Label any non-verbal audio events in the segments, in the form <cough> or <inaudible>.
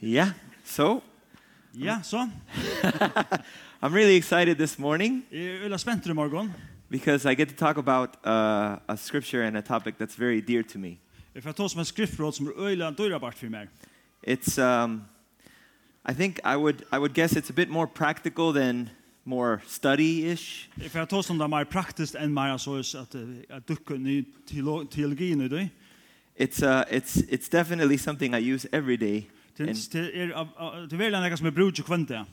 Yeah. So Ja, så. I'm really excited this morning Jeg er øyla spent i morgen. because I get to talk about uh, a scripture and a topic that's very dear to me. For jeg tar som en skriftråd som er øyla døyrabart for meg. It's, um, I think I would, I would guess it's a bit more practical than more study-ish. For jeg tar som det er mer praktisk enn mer så er at eh, jeg dukker ny teolo- teologi nu i It's, uh, it's, it's definitely something I use every day Til in, til er av- av- til veldig enn som er brug til kvante.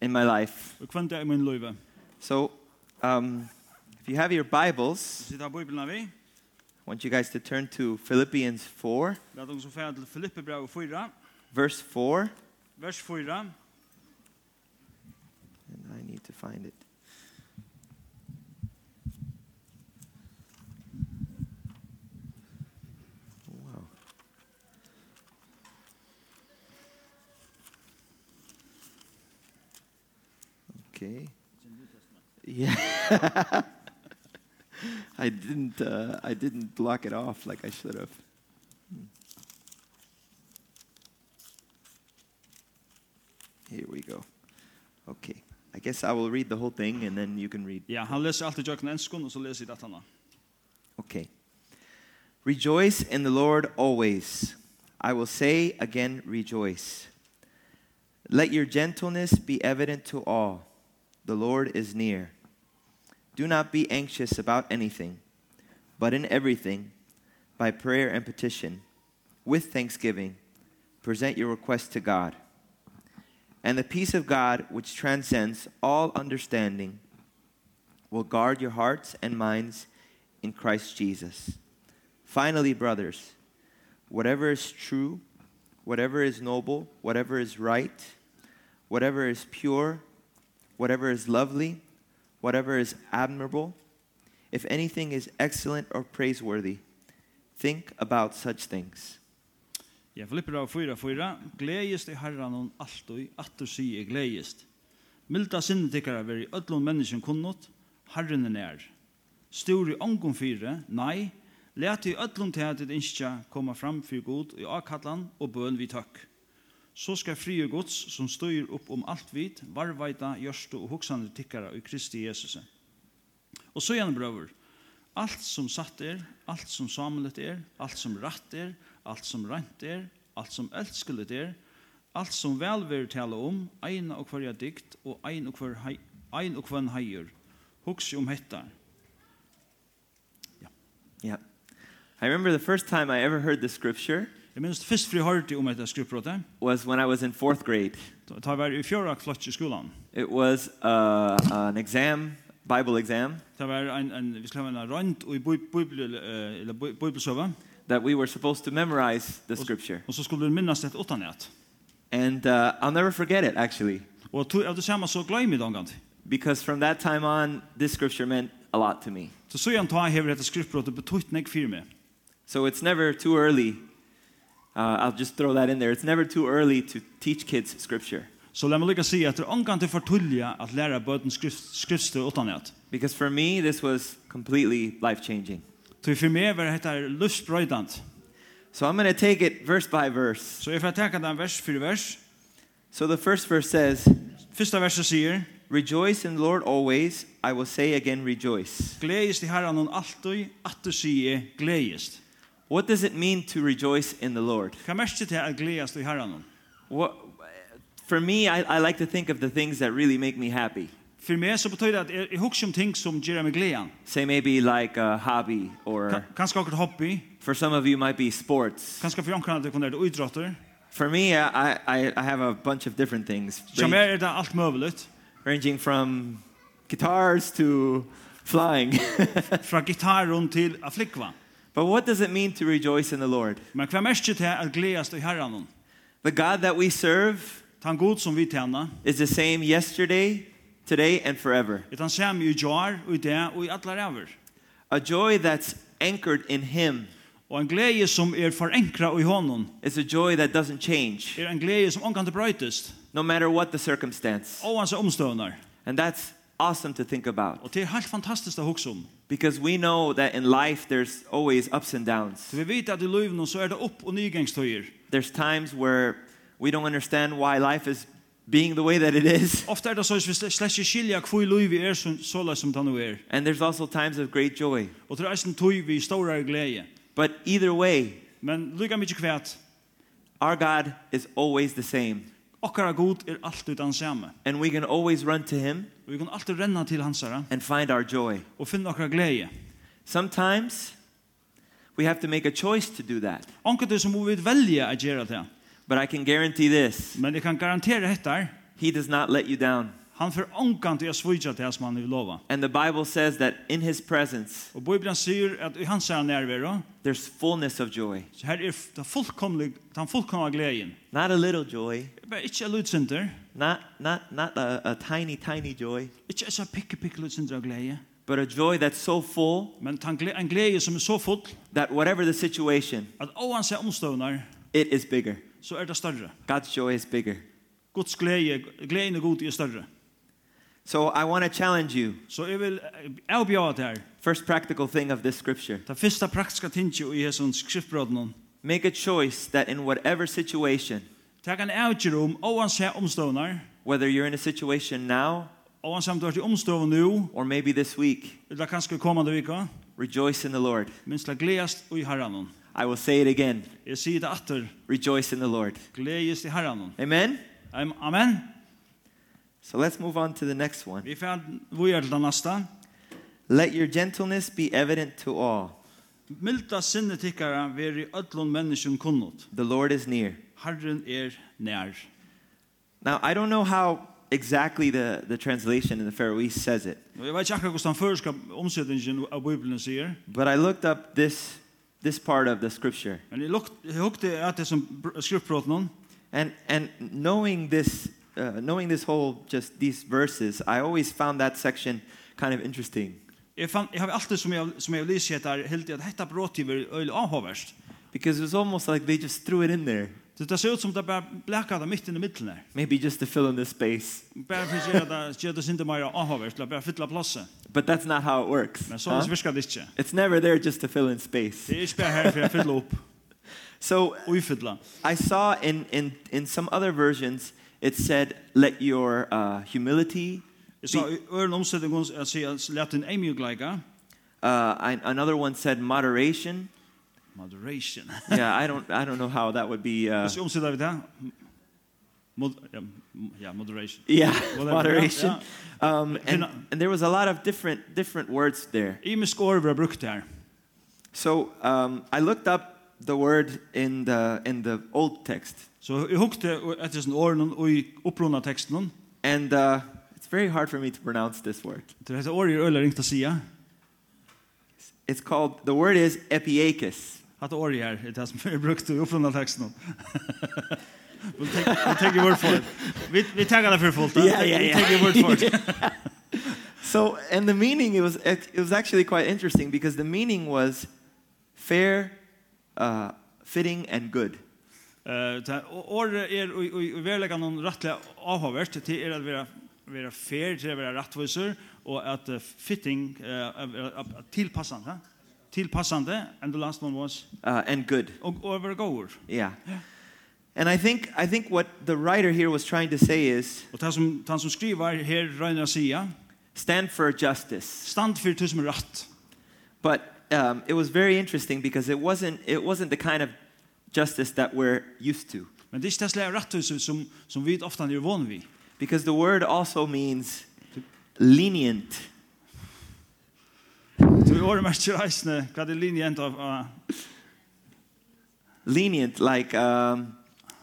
in my life. Og kvante er min løyve. So um, if you have your Bibles, Så det er Bibelen av vi. I want you guys to turn to Philippians 4, La oss få til Filippe brev 4, verse 4. vers 4. And I need to find it. Wow. Okay. Yeah. <laughs> I didn't uh, I didn't block it off like I should have. Hmm. Here we go. Okay. I guess I will read the whole thing and then you can read. Ja, han leser alltid jøkken enskund, og så leser jeg dette han. Okay. Rejoice in the Lord always. I will say again, rejoice. Let your gentleness be evident to all. The Lord is near. Do not be anxious about anything, but in everything, by prayer and petition, with thanksgiving, present your requests to God. And the peace of God, which transcends all understanding, will guard your hearts and minds in Christ Jesus. Finally, brothers, whatever is true, whatever is noble, whatever is right, whatever is pure, whatever is lovely, whatever is admirable, if anything is excellent or praiseworthy, think about such things. Ja, Filipper av 4-4. Gleist i herran og alt og atter sier gleist. Milda sinne tikkara veri öllum menneskjen kunnot, herren er nær. Stor i ångon fire, nei, let i öllum til at ditt innskja koma fram fyrir god i avkallan og bøn vi tøkk. Så skal frie gods som styr upp om alt vit, varvaita, gjørste og hoksander tikkara i Kristi Jesus. Og så igjen, brøver, Allt som satt er, allt som samlet er, allt som ratt er, allt som rent er, allt som elskulet er, allt som vel vil tale om, ein og hverja dikt og ein og hver hei, ein og hvern heier. Hugs om um hetta. Yeah. I remember the first time I ever heard the scripture Jeg minns først fri hørte om um hetta skripprådet. was when I was in fourth grade. Ta ta var i fjøra klotch i skolan. It was uh, an exam, Bible exam, Ta var ein ein vi skulle ha ein rønt og i bib- bibel eh, eller bi- bibelsøva. that we were supposed to memorize the scripture. Og så skulle du minnast et åttanett. And uh, I'll never forget it, actually, Og to av det samme så gløymið omgant. because from that time on, this scripture meant a lot to me. Så så igjen ta hever dette skripprådet betutt nek fyrir meg. So it's never too early. Uh, I'll just throw that in there. It's never too early to teach kids scripture. Så lad mig lykke sige, at det er omgang til fortulje at lære bøten skrift, skriftstøy utanhet. Because for me, this was completely life changing. Så for meg var dette løsbrøydant. So I'm going to take it verse by verse. Så jeg får tenke den vers for vers. So the first verse says, Første verset sier, Rejoice in the Lord always. I will say again, rejoice. Gledes til herren og alltid, at du sier gledes. What does it mean to rejoice in the Lord? Hva mest til at gledes til herren? What, for me, I, I like to think of the things that really make me happy. For meg så betyr det at jeg, jeg husker om um ting som gjør meg gleden. Say maybe like a hobby, or Kanskje akkurat hobby, for some of you might be sports. kanskje for omkring at det kunne være utdrotter. For me, I, I, I have a bunch of different things, Så rang, mer er det alt mulig. ranging from guitars to flying. <laughs> Fra gitaren til å flikva. but what does it mean to rejoice in the Lord? Men hva mest til at gledes til herren? The God that we serve Tan god som vi tjener, is the same yesterday, today, and forever. Utan sem i jar og i det og i atlar över. A joy that's anchored in Him Og en glädje som er förenkra i honom is a joy that doesn't change, er en glädje som omkant bröjtest no matter what the circumstance. och hans omstövnar. And that's awesome to think about Och det är helt er fantastiskt um. att huxa om. because we know that in life there's always ups and downs. er För vi vet att i livet så är det upp och nygängstøyer. There's times where We don't understand why life is being the way that it is. Ofta er det så at vi slett ikke skilja hvor lov vi er som- såleis som det nå er. And there's also times of great joy. Og det er eisen tog vi ståre glede. But either way, Men lykka mykje kvæt, our God is always the same. okkara god er alltid den samme. And we can always run to Him Og vi kan alltid renna til hansara and find our joy. og finna okkara glede. Sometimes we have to make a choice to do that. Anker du som må vi velja at gjøre det. But I can guarantee this Men jeg kan garantera hettar, He does not let you down. han får ankan til å svudja til det som han vil lova. And the Bible says that in His presence, Og Bibelen sier at i hans herre nærvero, there's fullness of joy. så her er f- den fullkomlig, den fullkomna gleden. Not a little joy, Det er bare ikke en lydsynder, not, not, not a, a tiny, tiny joy, ikke en sånn pikke-pikke lydsynder av glede, but a joy that's so full men tan gle- en glede som er så full that whatever the situation, at oansett omstående it is bigger. så er det større. God's joy is bigger. Guds glede, gleden er god er større. So I want to challenge you. Så jeg vil eh, avbjøre det her. First practical thing of this scripture Det første praktiska tinget i hesson skriftbrødnen. make a choice that in whatever situation, Det kan avgjøre om oansett omstående, whether you're in a situation now oansett om du er til omstående nå, or maybe this week, eller kanskje kommande vika, rejoice in the Lord. minst la gledast i herranen. I will say it again Jeg sier det atter, rejoice in the Lord. gledast i herranen. Amen? Am- Amen. So let's move on to the next one. Vi får vi er til det neste. Let your gentleness be evident to all. Milda sinne tikkara veri öllun menneskjum kunnot. The Lord is near. Herren er nær. Now, I don't know how exactly the, the translation in the Faroese says it, Og jeg vet ikke akkurat hvordan føreska omsetningen av Bibelen sier, but I looked up this, this part of the scripture. men jeg lukt- jeg hukte at det som skriftbrotten, And, and knowing, this, uh, knowing this whole, just these verses, I always found that section kind of interesting jeg, fann, jeg har alltid som jeg, som jeg lyser etter, helt i at dette brottet er øyelig avhåverst. because it was almost like they just threw it in there, Så det ser ut som det bare blekket det midt inn i midten her. maybe just to fill in the space. Bare for å gjøre det, gjøre det sinte mer avhåverst, la bare fylle plasset. But that's not how it works. Men huh? så virker det ikke. It's never there just to fill in space. Det er ikke bare her for å fylle opp, So uifylle. I saw in, in, in some other versions, it said, let your uh, humility, Jeg sa i øren omsetningen, jeg sier, let en eimjugleika, uh, I, another one said moderation. Moderation. yeah, I don't, I don't know how that would be. Uh, Så omsider vi det. Mod, ja, m- ja, moderation. <laughs> yeah, Whatever, moderation. ja, Um, and, Hina- and there was a lot of different, different words there. Imisk år vi har brukt her. So um, I looked up the word in the, in the old text, Så jeg hukte etter sånn åren og i opprunna teksten. and uh, it's very hard for me to pronounce this word. Det heter året i øyla er ringt å sige. It's called, the word is epiakis. Hatt året her, det er det som vi har brukt i opprunna teksten. <laughs> We'll take, we'll take your word for it. Vi, vi tar det for fullt. da. Ja, ja, We'll ja. take your word for it. So, and the meaning it was it, it was actually quite interesting because the meaning was fair, uh, fitting, and good. Eh, det her, å- Året er i, i, i verleggen noen rettelig avhavert. Det er at vi har vera fair til å vera rattviser og at eh, fitting uh, tilpassande tilpassande and the last one was Uh, and good, og og vera goer yeah. And I think I think what the writer here was trying to say is og ta som ta som skrivar her Reina Sia stand for justice. stand for tusen rätt But um, it was very interesting because it wasn't it wasn't the kind of justice that we're used to. men det er är inte det rättviser som som vi ofta er är van vid Because the word also means lenient. du har mest reisne vad det linjen av eh, Lenient like um,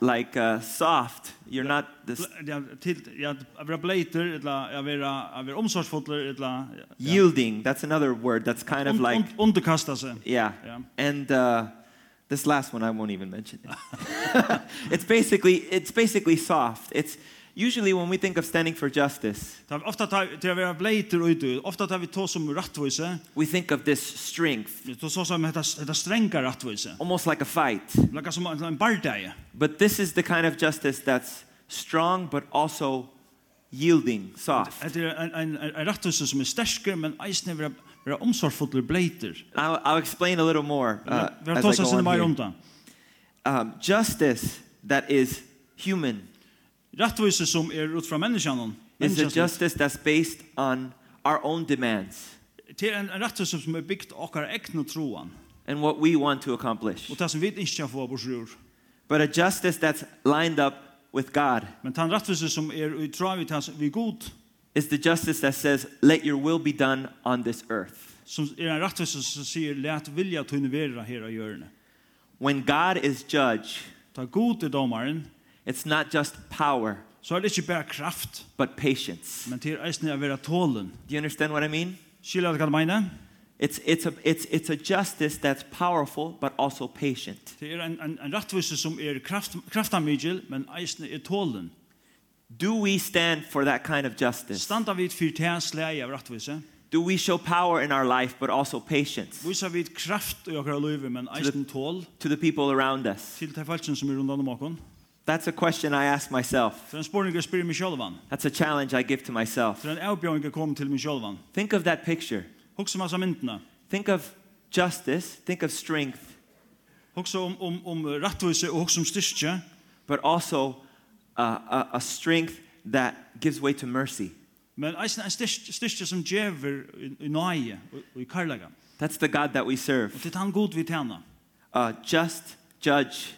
like uh, soft. You're not the bl- ja till ja att vara blater eller jag vara att vara omsorgsfull eller ja, Yielding, that's another word that's kind of Und- like, und- underkasta sig. yeah. Ja. And uh, this last one, I won't even mention it. <laughs> it's, basically, it's basically soft. It's usually when we think of standing for justice, Det är ofta tar det vi blater ute. Ofta tar vi tå som rättvise. we think of this strength, Det så som heter det stränga rättvise. almost like a fight. Lika som en en bardaje. But this is the kind of justice that's strong but also yielding, soft. Det är en en en rättvise som är starkare men eisne vi vi omsorgsfulla blater. I'll, I'll explain a little more uh, Vi har as I tåsa go sin on mer here. undan. Um, justice that is human. Rättvise som är ut från människan. It's a Människans- justice that's based on our own demands Det är en en rättvise som är byggt av våra egna troan. and what we want to accomplish, Och det som vi inte kan få av vår rör. but a justice that's lined up with God. Men den rättvise som är i troan vi tas vi god. It's the justice that says, Let your will be done on this earth. Som är en rättvise som säger lät vilja tunna vera här och görna. When God is judge, Ta god i domaren. it's not just power, Så är det inte er bara kraft. but patience. Men er det är eisne att vara tålen. Do you understand what I mean? Skilja det kan mena. It's, it's, a, it's, it's a justice that's powerful, but also patient. Det är en, en, en rättvise som är er kraft, kraftamigel, men er eisne är tålen. Do we stand for that kind of justice? Standa vid för det här släget av rättvise. Do we show power in our life, but also patience Visa vid kraft i okra liv, men eisen tål to the people around us? til de falsen som er rundt om okon. That's a question I ask myself. For en spårning jeg spyr meg sjølvan. That's a challenge I give to myself. For en avbjøring jeg kom til meg sjølvan. Think of that picture. Hugsa um massa myndene. Think of justice, think of strength, Hugsa um, om, om, om rattvise og hugsa um om styrke. but also uh, a, a strength that gives way to mercy. Men eisen er en styrke, styrke som djever i, i nøye og, og i karlaga. That's the God that we Og serve. til han god vi tjena. A just judge,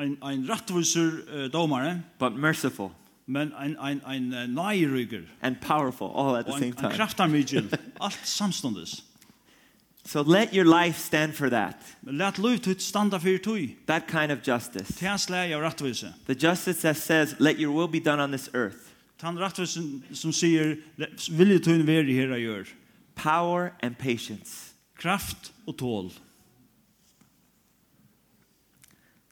Ein, ein rattviser uh, domare, but merciful men ein, ein, ein uh, nøyrygger. and powerful all at Og the ein, same ein time. <laughs> kraftarmigel. Alt samståndes. So let your life stand for that, Men let lov til standa fyrir tui. that kind of justice. Til slæg av rattvise. The justice that says, let your will be done on this earth. Tan rattvisen som sier vilje tun veri her a gjør. Power and patience. Kraft og tål.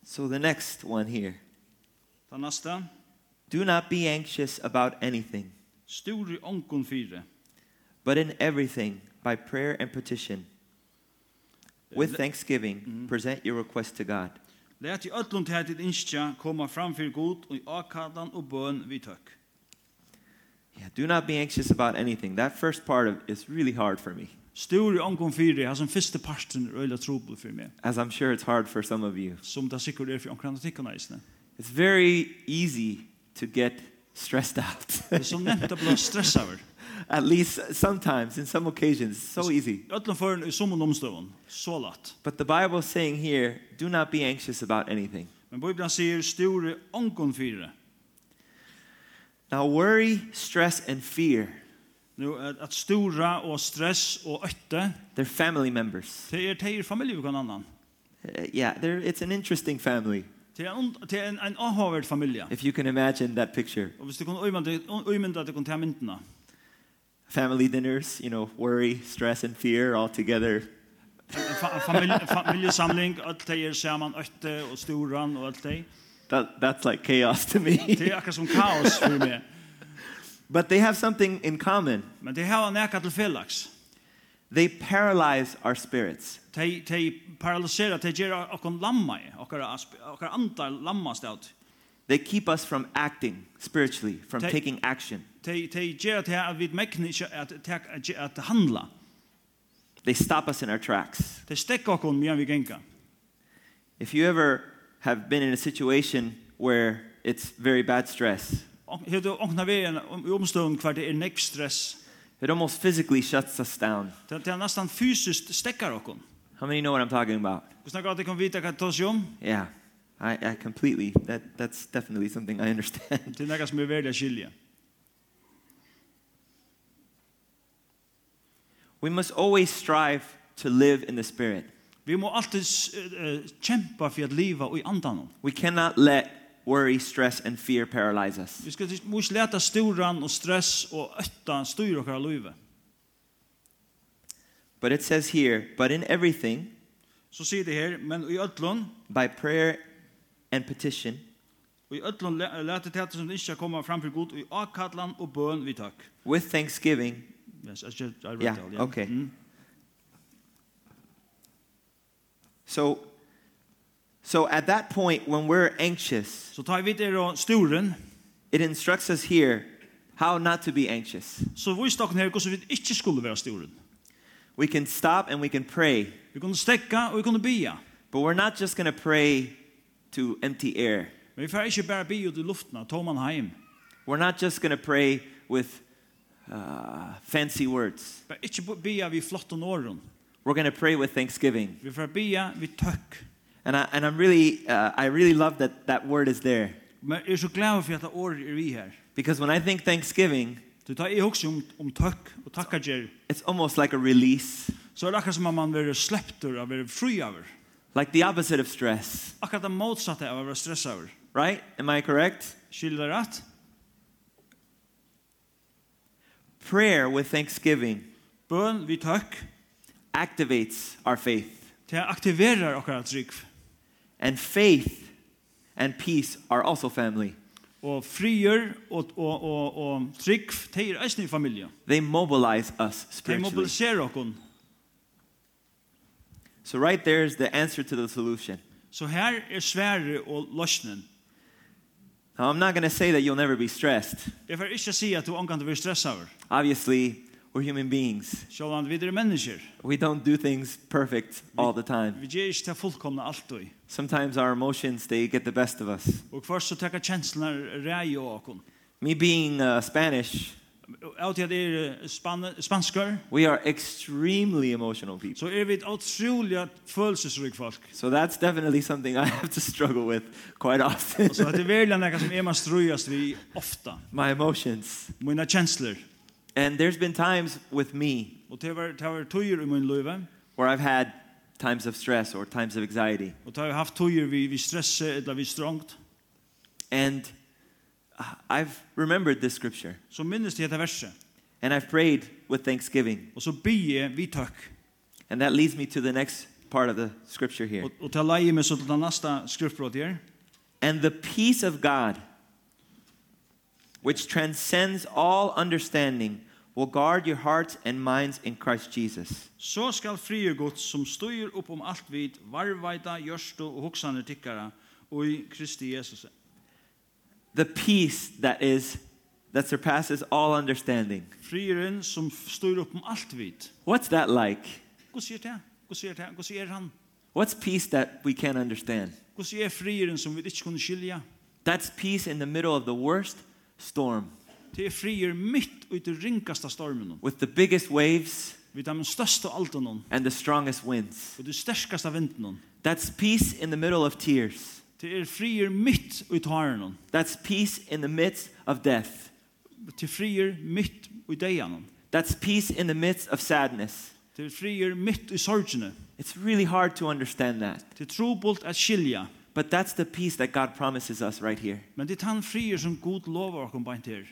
So the next one here. Ta nasta. Do not be anxious about anything, Stor i onkon fire. but in everything, by prayer and petition. With thanksgiving, present your request to God. Læt i öllum til hættit innskja koma fram fyrir god og i akadan og bøn vi tøkk. Yeah, do not be anxious about anything. That first part of is really hard for me, Stor i onkon fire har som fyrste parten er øyla trobel fyrir meg. as I'm sure it's hard for some of you. Som det sikkert er fyrir onkran tikkona isne. It's very easy to get stressed out. Det er som nevnt å bli stressa over. <laughs> At least sometimes, in some occasions, it's so easy. Öllum fyrir i summan omstøvun. Så latt. But the Bible is saying here, do not be anxious about anything. Men Bibelen sier stor i onkon fire. Now, worry, stress, and fear, Nu er at, at stora og stress og øtte er they're family members. Det är tejer familj och annan. Uh, yeah, they're, it's an interesting family, Det är en det är en en avhavd familj. if you can imagine that picture. Och visst du kan ömma det ömma det kan ta myndna. Family dinners, you know, worry, stress, and fear all together. Familj familjesamling allt det är samman ötte och storan och allt det. That, that's like chaos to Det me. <laughs> är akkurat som kaos för mig. but they have something in common. Men det här har näkat till Felix. They paralyze our spirits. De de paralyserar de ger och kon lamma och och antal lamma stout. They keep us from acting spiritually, from Ta- taking action. De de ger det här vid mekniska att ta att handla. They stop us in our tracks. De stäcker och kon mer vi gänga. If you ever have been in a situation where it's very bad stress, Hur du åkna vägen i omstånd kvar det är näck er stress. it almost physically shuts us down. Det det är nästan fysiskt stäckar okon. How many know what I'm talking about? Vi snackar att det kan vita um? kan tas om. Yeah, I, I completely, that, that's definitely something I <laughs> understand. Det är något som är väldigt er skilja. we must always strive to live in the Spirit. Vi må alltid uh, kämpa för att leva i andan. We cannot let worry, stress, and fear paralyze us. Vi ska vi måste läta storan och stress och ötta styra våra liv. But it says here, but in everything, Så säger det här, men i öllon by prayer and petition, och i öllon läta det här som det inte ska komma framför god i akadlan och bön vi tack. with thanksgiving, Yes, I should, I read Yeah, it all, okay. Mm. So, so at that point, when we're anxious, Så tar vi det och storen it instructs us here how not to be anxious. så vi stocken här hur vi inte skulle vara storen. We can stop and we can pray, Vi kunde stäcka och vi kunde bia. but we're not just going to pray to empty air. Men vi får ikke bare bi ut i luftene, ta man heim. We're not just going to pray with uh, fancy words. Bare ikke bu- bia vi flott og åren. We're going to pray with thanksgiving. Vi får bia vi tøkk. And I and I'm really uh, I really love that that word is there Men jeg er så glad for at det året er vi her. because when I think thanksgiving, Du tar jeg også om, om tøkk um, og takkager, it's almost like a release, så er det akkurat som om man vil sleptur og vil fri over. like the opposite of stress, Akkurat det motsatte av å være stressa over. right? Am I correct? Skiljer det rett? Prayer with thanksgiving Bøn vi tøkk, activates our faith, til jeg aktiverer akkurat trygg. and faith and peace are also family. Og frigjør og, og, og, og trygg, det er eisen i familien. They mobilize us Det spiritually. mobiliserer okken. So right there is the answer to the solution. Så her er svære og løsnen. Now I'm not going to say that you'll never be stressed. Jeg får ikke si at du omkant vil stressa over. Obviously, we're human beings. Selv om vi er mennesker. We don't do things perfect all the time. Vi gjør ikke til fullkomne alt og i. Sometimes our emotions they get the best of us. Og først så tekker kjenslene rei og okken. Me being uh, Spanish, Av til at jeg er eh, span spansker, we are extremely emotional people. så er vi et utrolig følelsesryk folk. So that's definitely something I have to struggle with quite often. <laughs> Altså, det er virkelig noe som er man strøyest vi ofte. My emotions. Mine kjensler. And there's been times with me Og det var, det var tøyer i min løyve. where I've had times of stress or times of anxiety. Og det har jeg haft tøyer vi, vi stresset eller vi strongt. And uh, I've remembered this scripture Så minnes det dette verset. and I've prayed with thanksgiving. Og så bygge vi tøkk. And that leads me to the next part of the scripture here. Og, og til leie meg så til den neste skriftbrot her. And the peace of God, which transcends all understanding, will guard your hearts and minds in Christ Jesus. Så skal frier Guds som styr upp om allt vid varvajta, gjørstu og hoksaner tikkara og i Kristi Jesus. The peace that is that surpasses all understanding. Frieren som styr upp om allt vid. What's that like? Hva sier det? Hva sier det? Hva sier han? What's peace that we can't understand? Hva sier frieren som vi ikke kunne skilja? That's peace in the middle of the worst storm Det er frier mitt ut i ringkasta stormen. with the biggest waves Vi tar den største alten og and the strongest winds. det sterskaste vinden. That's peace in the middle of tears. Det er frier mitt ut i haren. That's peace in the midst of death. Det er frier mitt ut i deian. That's peace in the midst of sadness. Det er frier mitt i sorgene. It's really hard to understand that. Det er trobult at skilja. But that's the peace that God promises us right here. Men det er han frier som god lover oss beint her.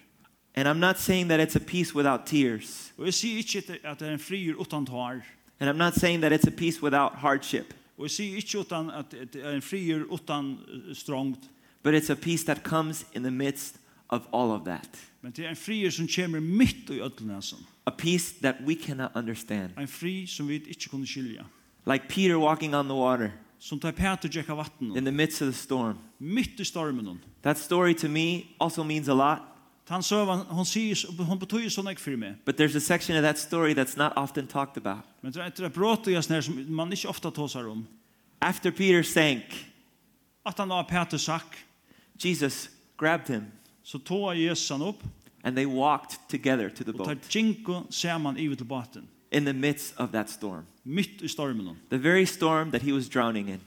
And I'm not saying that it's a peace without tears. Og jeg sier ikke at det- at det er en frier utan tar. And I'm not saying that it's a peace without hardship. Og jeg sier ikke utan at at det er en frier utan eh, strongt. But it's a peace that comes in the midst of all of that. Men det er en frier som kommer mitt i ødlenesen. A peace that we cannot understand. En fri som vi ikke kunne skilja. Like Peter walking on the water Som tar Peter Jack av in vattnet. the midst of the storm. Mitt i stormen. That story to me also means a lot. Han søvan, hon sier, s- hon betyr sånn ikke for meg. But there's a section of that story that's not often talked about. Men det er et brått i oss nær som man ikke ofte tåsar om. After Peter sank, um. At han var Peter sakk, Jesus grabbed him så tog Jesus han opp, and they walked together to the og tar boat Jinko saman ivet til båten. in the midst of that storm. mitt i stormen. The very storm that he was drowning in.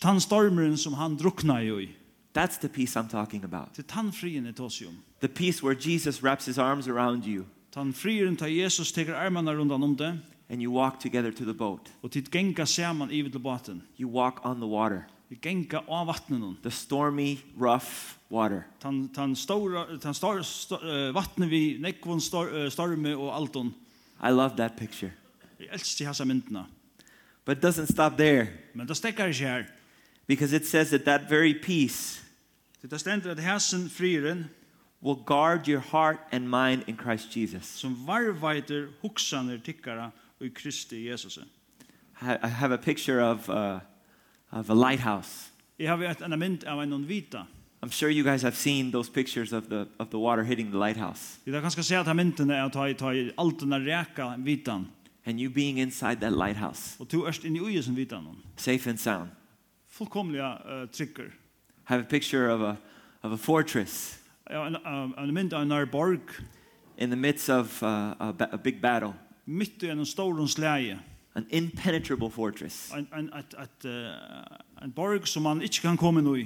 Tann stormen som han drukna i. That's the peace I'm talking about. Til tann frien er tås i om. The peace where Jesus wraps his arms around you Tann frien tar Jesus teker armarna rundan om det, and you walk together to the boat. um og tid genga saman i til båten. You walk on the water, Vi genga av vattnet hon. the stormy, rough water. Tann, tann, stora, tann stor, stor, uh, vattnet vi nekvon stor, eh, storme og alt hon. I love that picture. Jeg elsker hans myndena. But it doesn't stop there Men det stekkar ikke her. because it says that that very peace Til Det stender at hæsen frieren will guard your heart and mind in Christ Jesus. som varvaiter hoksaner tikkara og i Kristi Jesus. I I have a picture of, uh, of a lighthouse. Jeg har vært en mynd av en vita. I'm sure you guys have seen those pictures of the, of the water hitting the lighthouse Vi kan ganska säga att här mynten är att ta i ta i allt den räka vitan and you being inside that lighthouse, och to öst in i ujen vitan. safe and sound. Fullkomliga uh, trycker. I have a picture of a, of a fortress Ja, en, en- en mynd av en nær borg, in the midst of uh, a, ba- a big battle, mitt i en stor slæge. an impenetrable fortress. En, en, et, et, eh, en borg som man ikke kan komme nå i.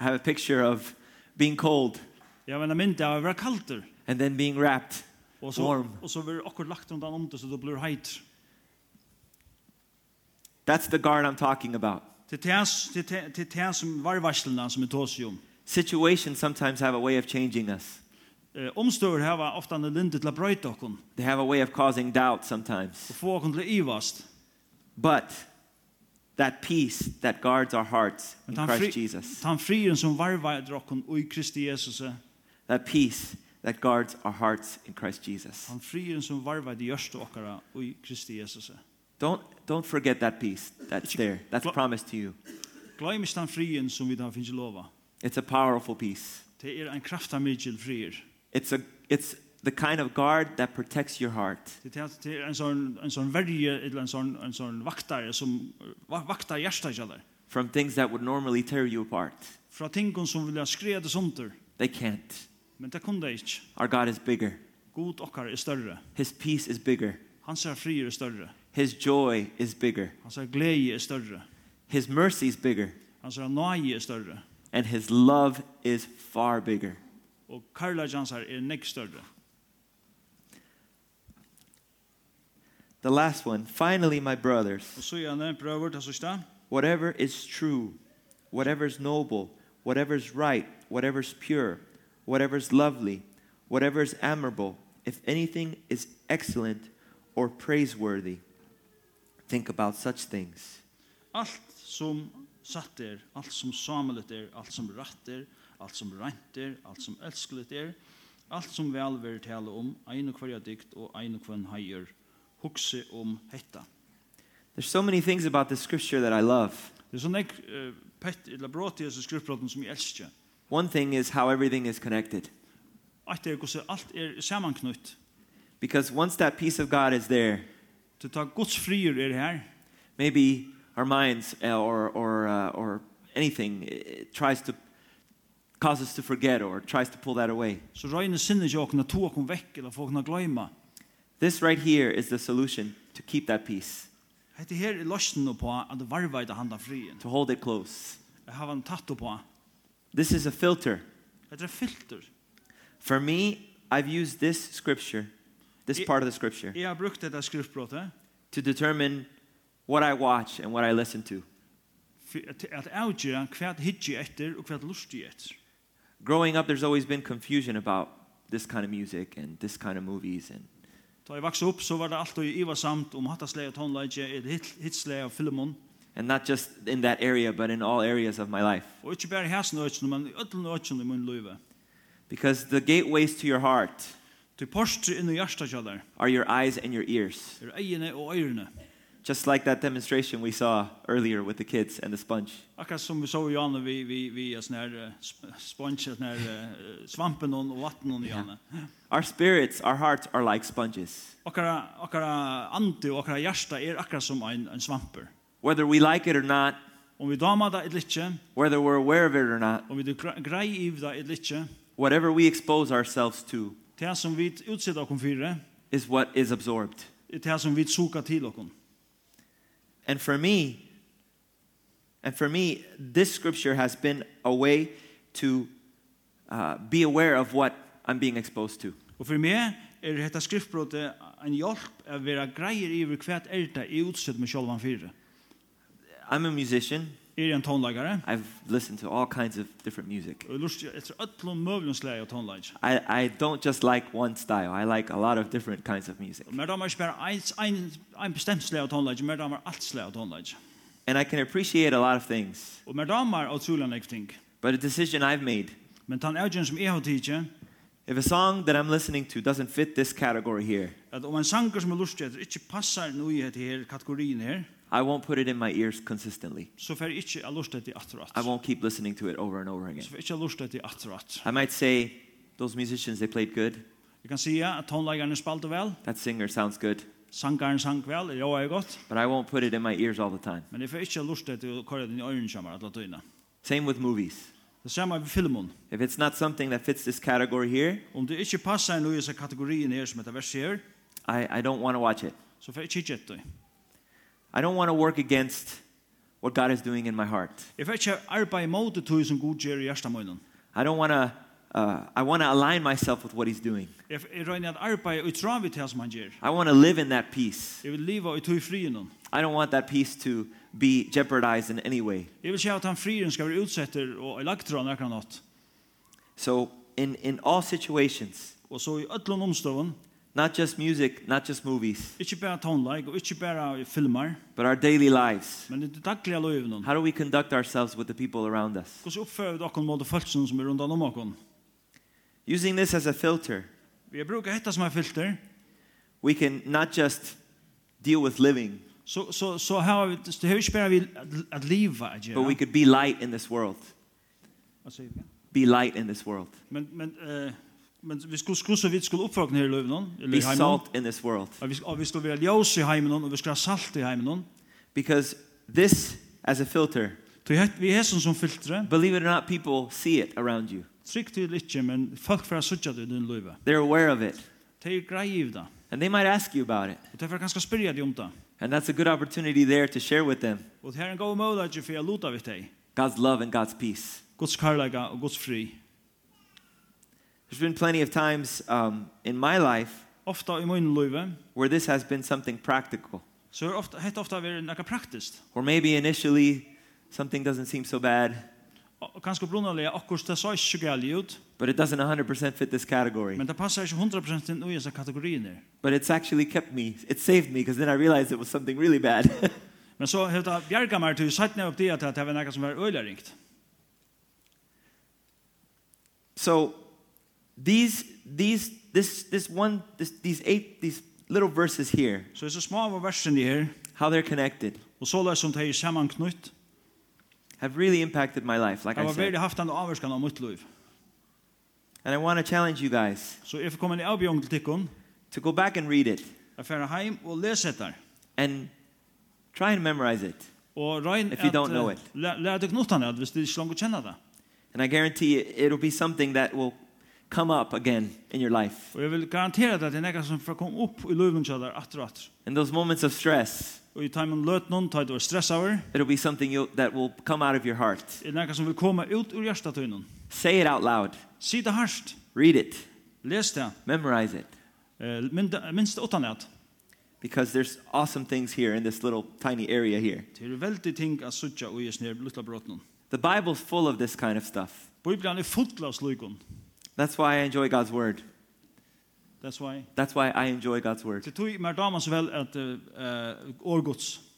I have a picture of being cold Ja, men en mynd av å være kalter. and then being wrapped. Og så, Warm. og så blir akkurat lagt rundt om det, så det blir heit. That's the guard I'm talking about. Til tæs, til tæ- til tæs som varvarslene som vi tås i om. Situations sometimes have a way of changing us. Eh, Omstøver her var ofte en linde til å brøyte okken, They have a way of causing doubt sometimes. og få okken til å ivast. But that peace that guards our hearts in Men han, fri, Christ Jesus, han frieren som varvarder okken og i Kristi Jesus, eh, that peace that guards our hearts in Christ Jesus. han frieren som varvarder gjørste okkara og i Kristi Jesus. eh. Don't, don't forget that peace that's there. That's Gl- promised to you. Gleim ikke den frieren som vi da finnes lova. It's a powerful peace. Det er en kraftamidgjel frier. It's, a, it's the kind of guard that protects your heart. Det er, det er en sånn, en sånn verje, eller en sånn, en sånn vaktare som va- vaktar hjertet ikke der. from things that would normally tear you apart. Fra tingene som vilja skrede sånter, They can't. men det kunne det ikke. Our God is bigger. God okkar er større. His peace is bigger. Han ser frier er større. His joy is bigger. Han ser glede er større. His mercy is bigger. Han ser nøye er større. And his love is far bigger. Og karlage hans her er nekk større. The last one. Finally, my brothers, Og så gjerne prøver til sørste. whatever is true, whatever is noble, whatever is right, whatever is pure, whatever is lovely, whatever is admirable, if anything is excellent or praiseworthy, think about such things. Alt som satt er, alt som samlet er, alt som rett er, alt som rent er, alt som elsklet er, alt som vel vil tale om, ein og hverja dikt og ein og hverja heier, hukse om hetta. There's so many things about this scripture that I love. Det er sånn jeg uh, pett, eller brått i disse skriftbrotten som jeg elsker. One thing is how everything is connected. Alt er hvordan alt er sammanknutt. Because once that peace of God is there, Til ta Guds frier er her, maybe our minds uh, or, or, uh, or anything uh, tries to cause us to forget or tries to pull that away. så røyne sinne ikke åkne to åkne vekk, eller få åkne gløyma. This right here is the solution to keep that peace, Hette her er løsnen på at det varveide handa frien. to hold it close. Jeg har han tatt på. This is a filter. Hette er filter. For me, I've used this scripture, this It- part of the scripture, Jeg har brukt dette skriftbrottet to determine what I watch and what I listen to. for at at avgjøre hva jeg hittir etter og hva jeg lustig etter. Growing up, there's always been confusion about this kind of music and this kind of movies and Da jeg vokste opp, så var det alltid ivarsamt om hattasleie og tonleie, eller hit- hitsleie og filmon. And not just in that area, but in all areas of my life. Og ikke bare i hæsen øyne, men i ødelen øyne i min løyve. Because the gateways to your heart Til postre inn i hjertet kjallar, are your eyes and your ears. er eiene og øyrene. Just like that demonstration we saw earlier with the kids and the sponge. Akkurat som vi så i Janne, vi, vi, vi er sånn her eh, sp- sponge, sånn her eh, svampen og vatten og Janne. Our spirits, our hearts are like sponges. Akkurat, akkurat ante og akkurat hjerte er akkurat som en, en svamper. Whether we like it or not, Om vi damer det eller ikke, whether we're aware of it or not, om vi er gre- grei i det eller ikke, whatever we expose ourselves to det som vi utsetter oss for, is what is absorbed. er det som vi suker til oss. And for me, and for me, this scripture has been a way to uh, be aware of what I'm being exposed to. Og for meg er dette skriftbrottet en hjelp å være greier i hva er det jeg utsetter meg selv for. I'm a musician. Er jeg en tonlagere? I've listened to all kinds of different music. Og jeg lurer etter øtlom møvlundsleie og tonlagere. I, I don't just like one style. I like a lot of different kinds of music. Men damer ikke bare en, en, en bestemt slag av tonelage, men damer alt slag av tonelage. And I can appreciate a lot of things. Og men damer er utrolig nekk ting. But a decision I've made, Men den avgjøren som jeg har tidsi, if a song that I'm listening to doesn't fit this category here, at om en sanger som er lustig etter ikke passer noe i dette her kategorien her, I won't put it in my ears consistently. så får jeg ikke er lustig etter atterat. I won't keep listening to it over and over again. Så får jeg ikke er lustig etter atterat. I might say, those musicians, they played good. Jeg kan si at tonelageren spalte vel, That singer sounds good. sangeren sang vel, det er godt, But I won't put it in my ears all the time. men jeg får ikke er lustig etter å kåre den i øynene kommer at la tøyne. Same with movies. Det samme er vi filmen. If it's not something that fits this category here, Om det ikke passer inn i disse kategorien her som heter vers her, I, I don't want to watch it. så får jeg ikke gjett det. I don't want to work against what God is doing in my heart. Jeg får ikke arbeid imot det tog som god gjør i hjertet munnen. I don't want to, uh, I want to align myself with what He's doing. Jeg, jeg røyner at arbeid og trav i det som han gjør. I want to live in that peace. Jeg vil leva i tog frien. I don't want that peace to be jeopardized in any way. Jeg vil se at han frien skal være utsetter og elektra nekker nåt. So, in, in all situations, Og så i ødlån omstående, not just music, not just movies, ikke bare tonleik og ikke bare i filmer, but our daily lives. men i det daglige løyvene. How do we conduct ourselves with the people around us? Hvordan oppfører vi dere mot følelsen som er rundt om dere? Using this as a filter, Vi bruker dette som er filter, we can not just deal with living, så, så, så har vi, det har vi ikke bare vi at, at livet å but we gjøre. could be light in this world. Hva sier vi? Be light in this world. Men, men, eh, men vi skulle, skulle så vidt skulle oppføre denne løyvene, eller Be i heimen. salt in this world. Og vi, og vi skulle være ljøs i heimen, og vi skulle ha salt i heimen. Because this, as a filter, Så jeg- vi er sånn som filtre. believe it or not, people see it around you. Trygg til ikke, men folk får suttet i din løyve. They're aware of it. Det er greie i det. And they might ask you about it. Og derfor kan jeg spørre deg om det. And that's a good opportunity there to share with them Og det her er en god måte for jeg luta vidt deg. God's love and God's peace. Guds karlaga og Guds fri. There's been plenty of times um, in my life Ofta i min løyve, where this has been something practical. så er ofta, hett ofta vært noe praktiskt. Or maybe initially something doesn't seem so bad, Og kanskje brunnerlig, akkurat det så ikke galt ut, but it doesn't 100% fit this category. men det passer ikke 100% inn i disse kategoriene. But it's actually kept me, it saved me because then I realized it was something really bad. <laughs> Men så hett av bjerga meg til satt ned opp det til at det var noe som var øyla ringt. so these, these, this, this one, this, these eight, these little verses here, Så disse små av versene her, how they're connected, og så løs som det er sammanknytt, have really impacted my life, like jeg I var said. veldig haft en avvarskan av mitt liv. And I want to challenge you guys Så jeg får komme en avbjørn til tikkun, to go back and read it jeg fer heim og les etter. and try and memorize it. Og eh, røyn If you don't know it. Lær deg knottene at hvis du ikke langer kjenner det. And I guarantee it, it'll be something that will come up again in your life. Og jeg vil garantera deg at det er nekka som får komme opp i løven til deg atter og atter. In those moments of stress, Og i timen løt noen, ta er det var stress over, it'll be something you'll, that will come out of your heart. er nekka som vil komme ut ur hjertet til noen. Say it out loud. Si det harsht, Read it. les det, Memorize it. eh, mynd- minst det åttan et. Because there's awesome things here in this little tiny area here. Det er veldig ting at suttja og jes nere luttla brått noen. The Bible's full of this kind of stuff. Bibelen er full av slukon. That's why I enjoy God's Word. That's why. That's why I enjoy God's Word. eh, Det tog mer damer så vel at uh, årgods.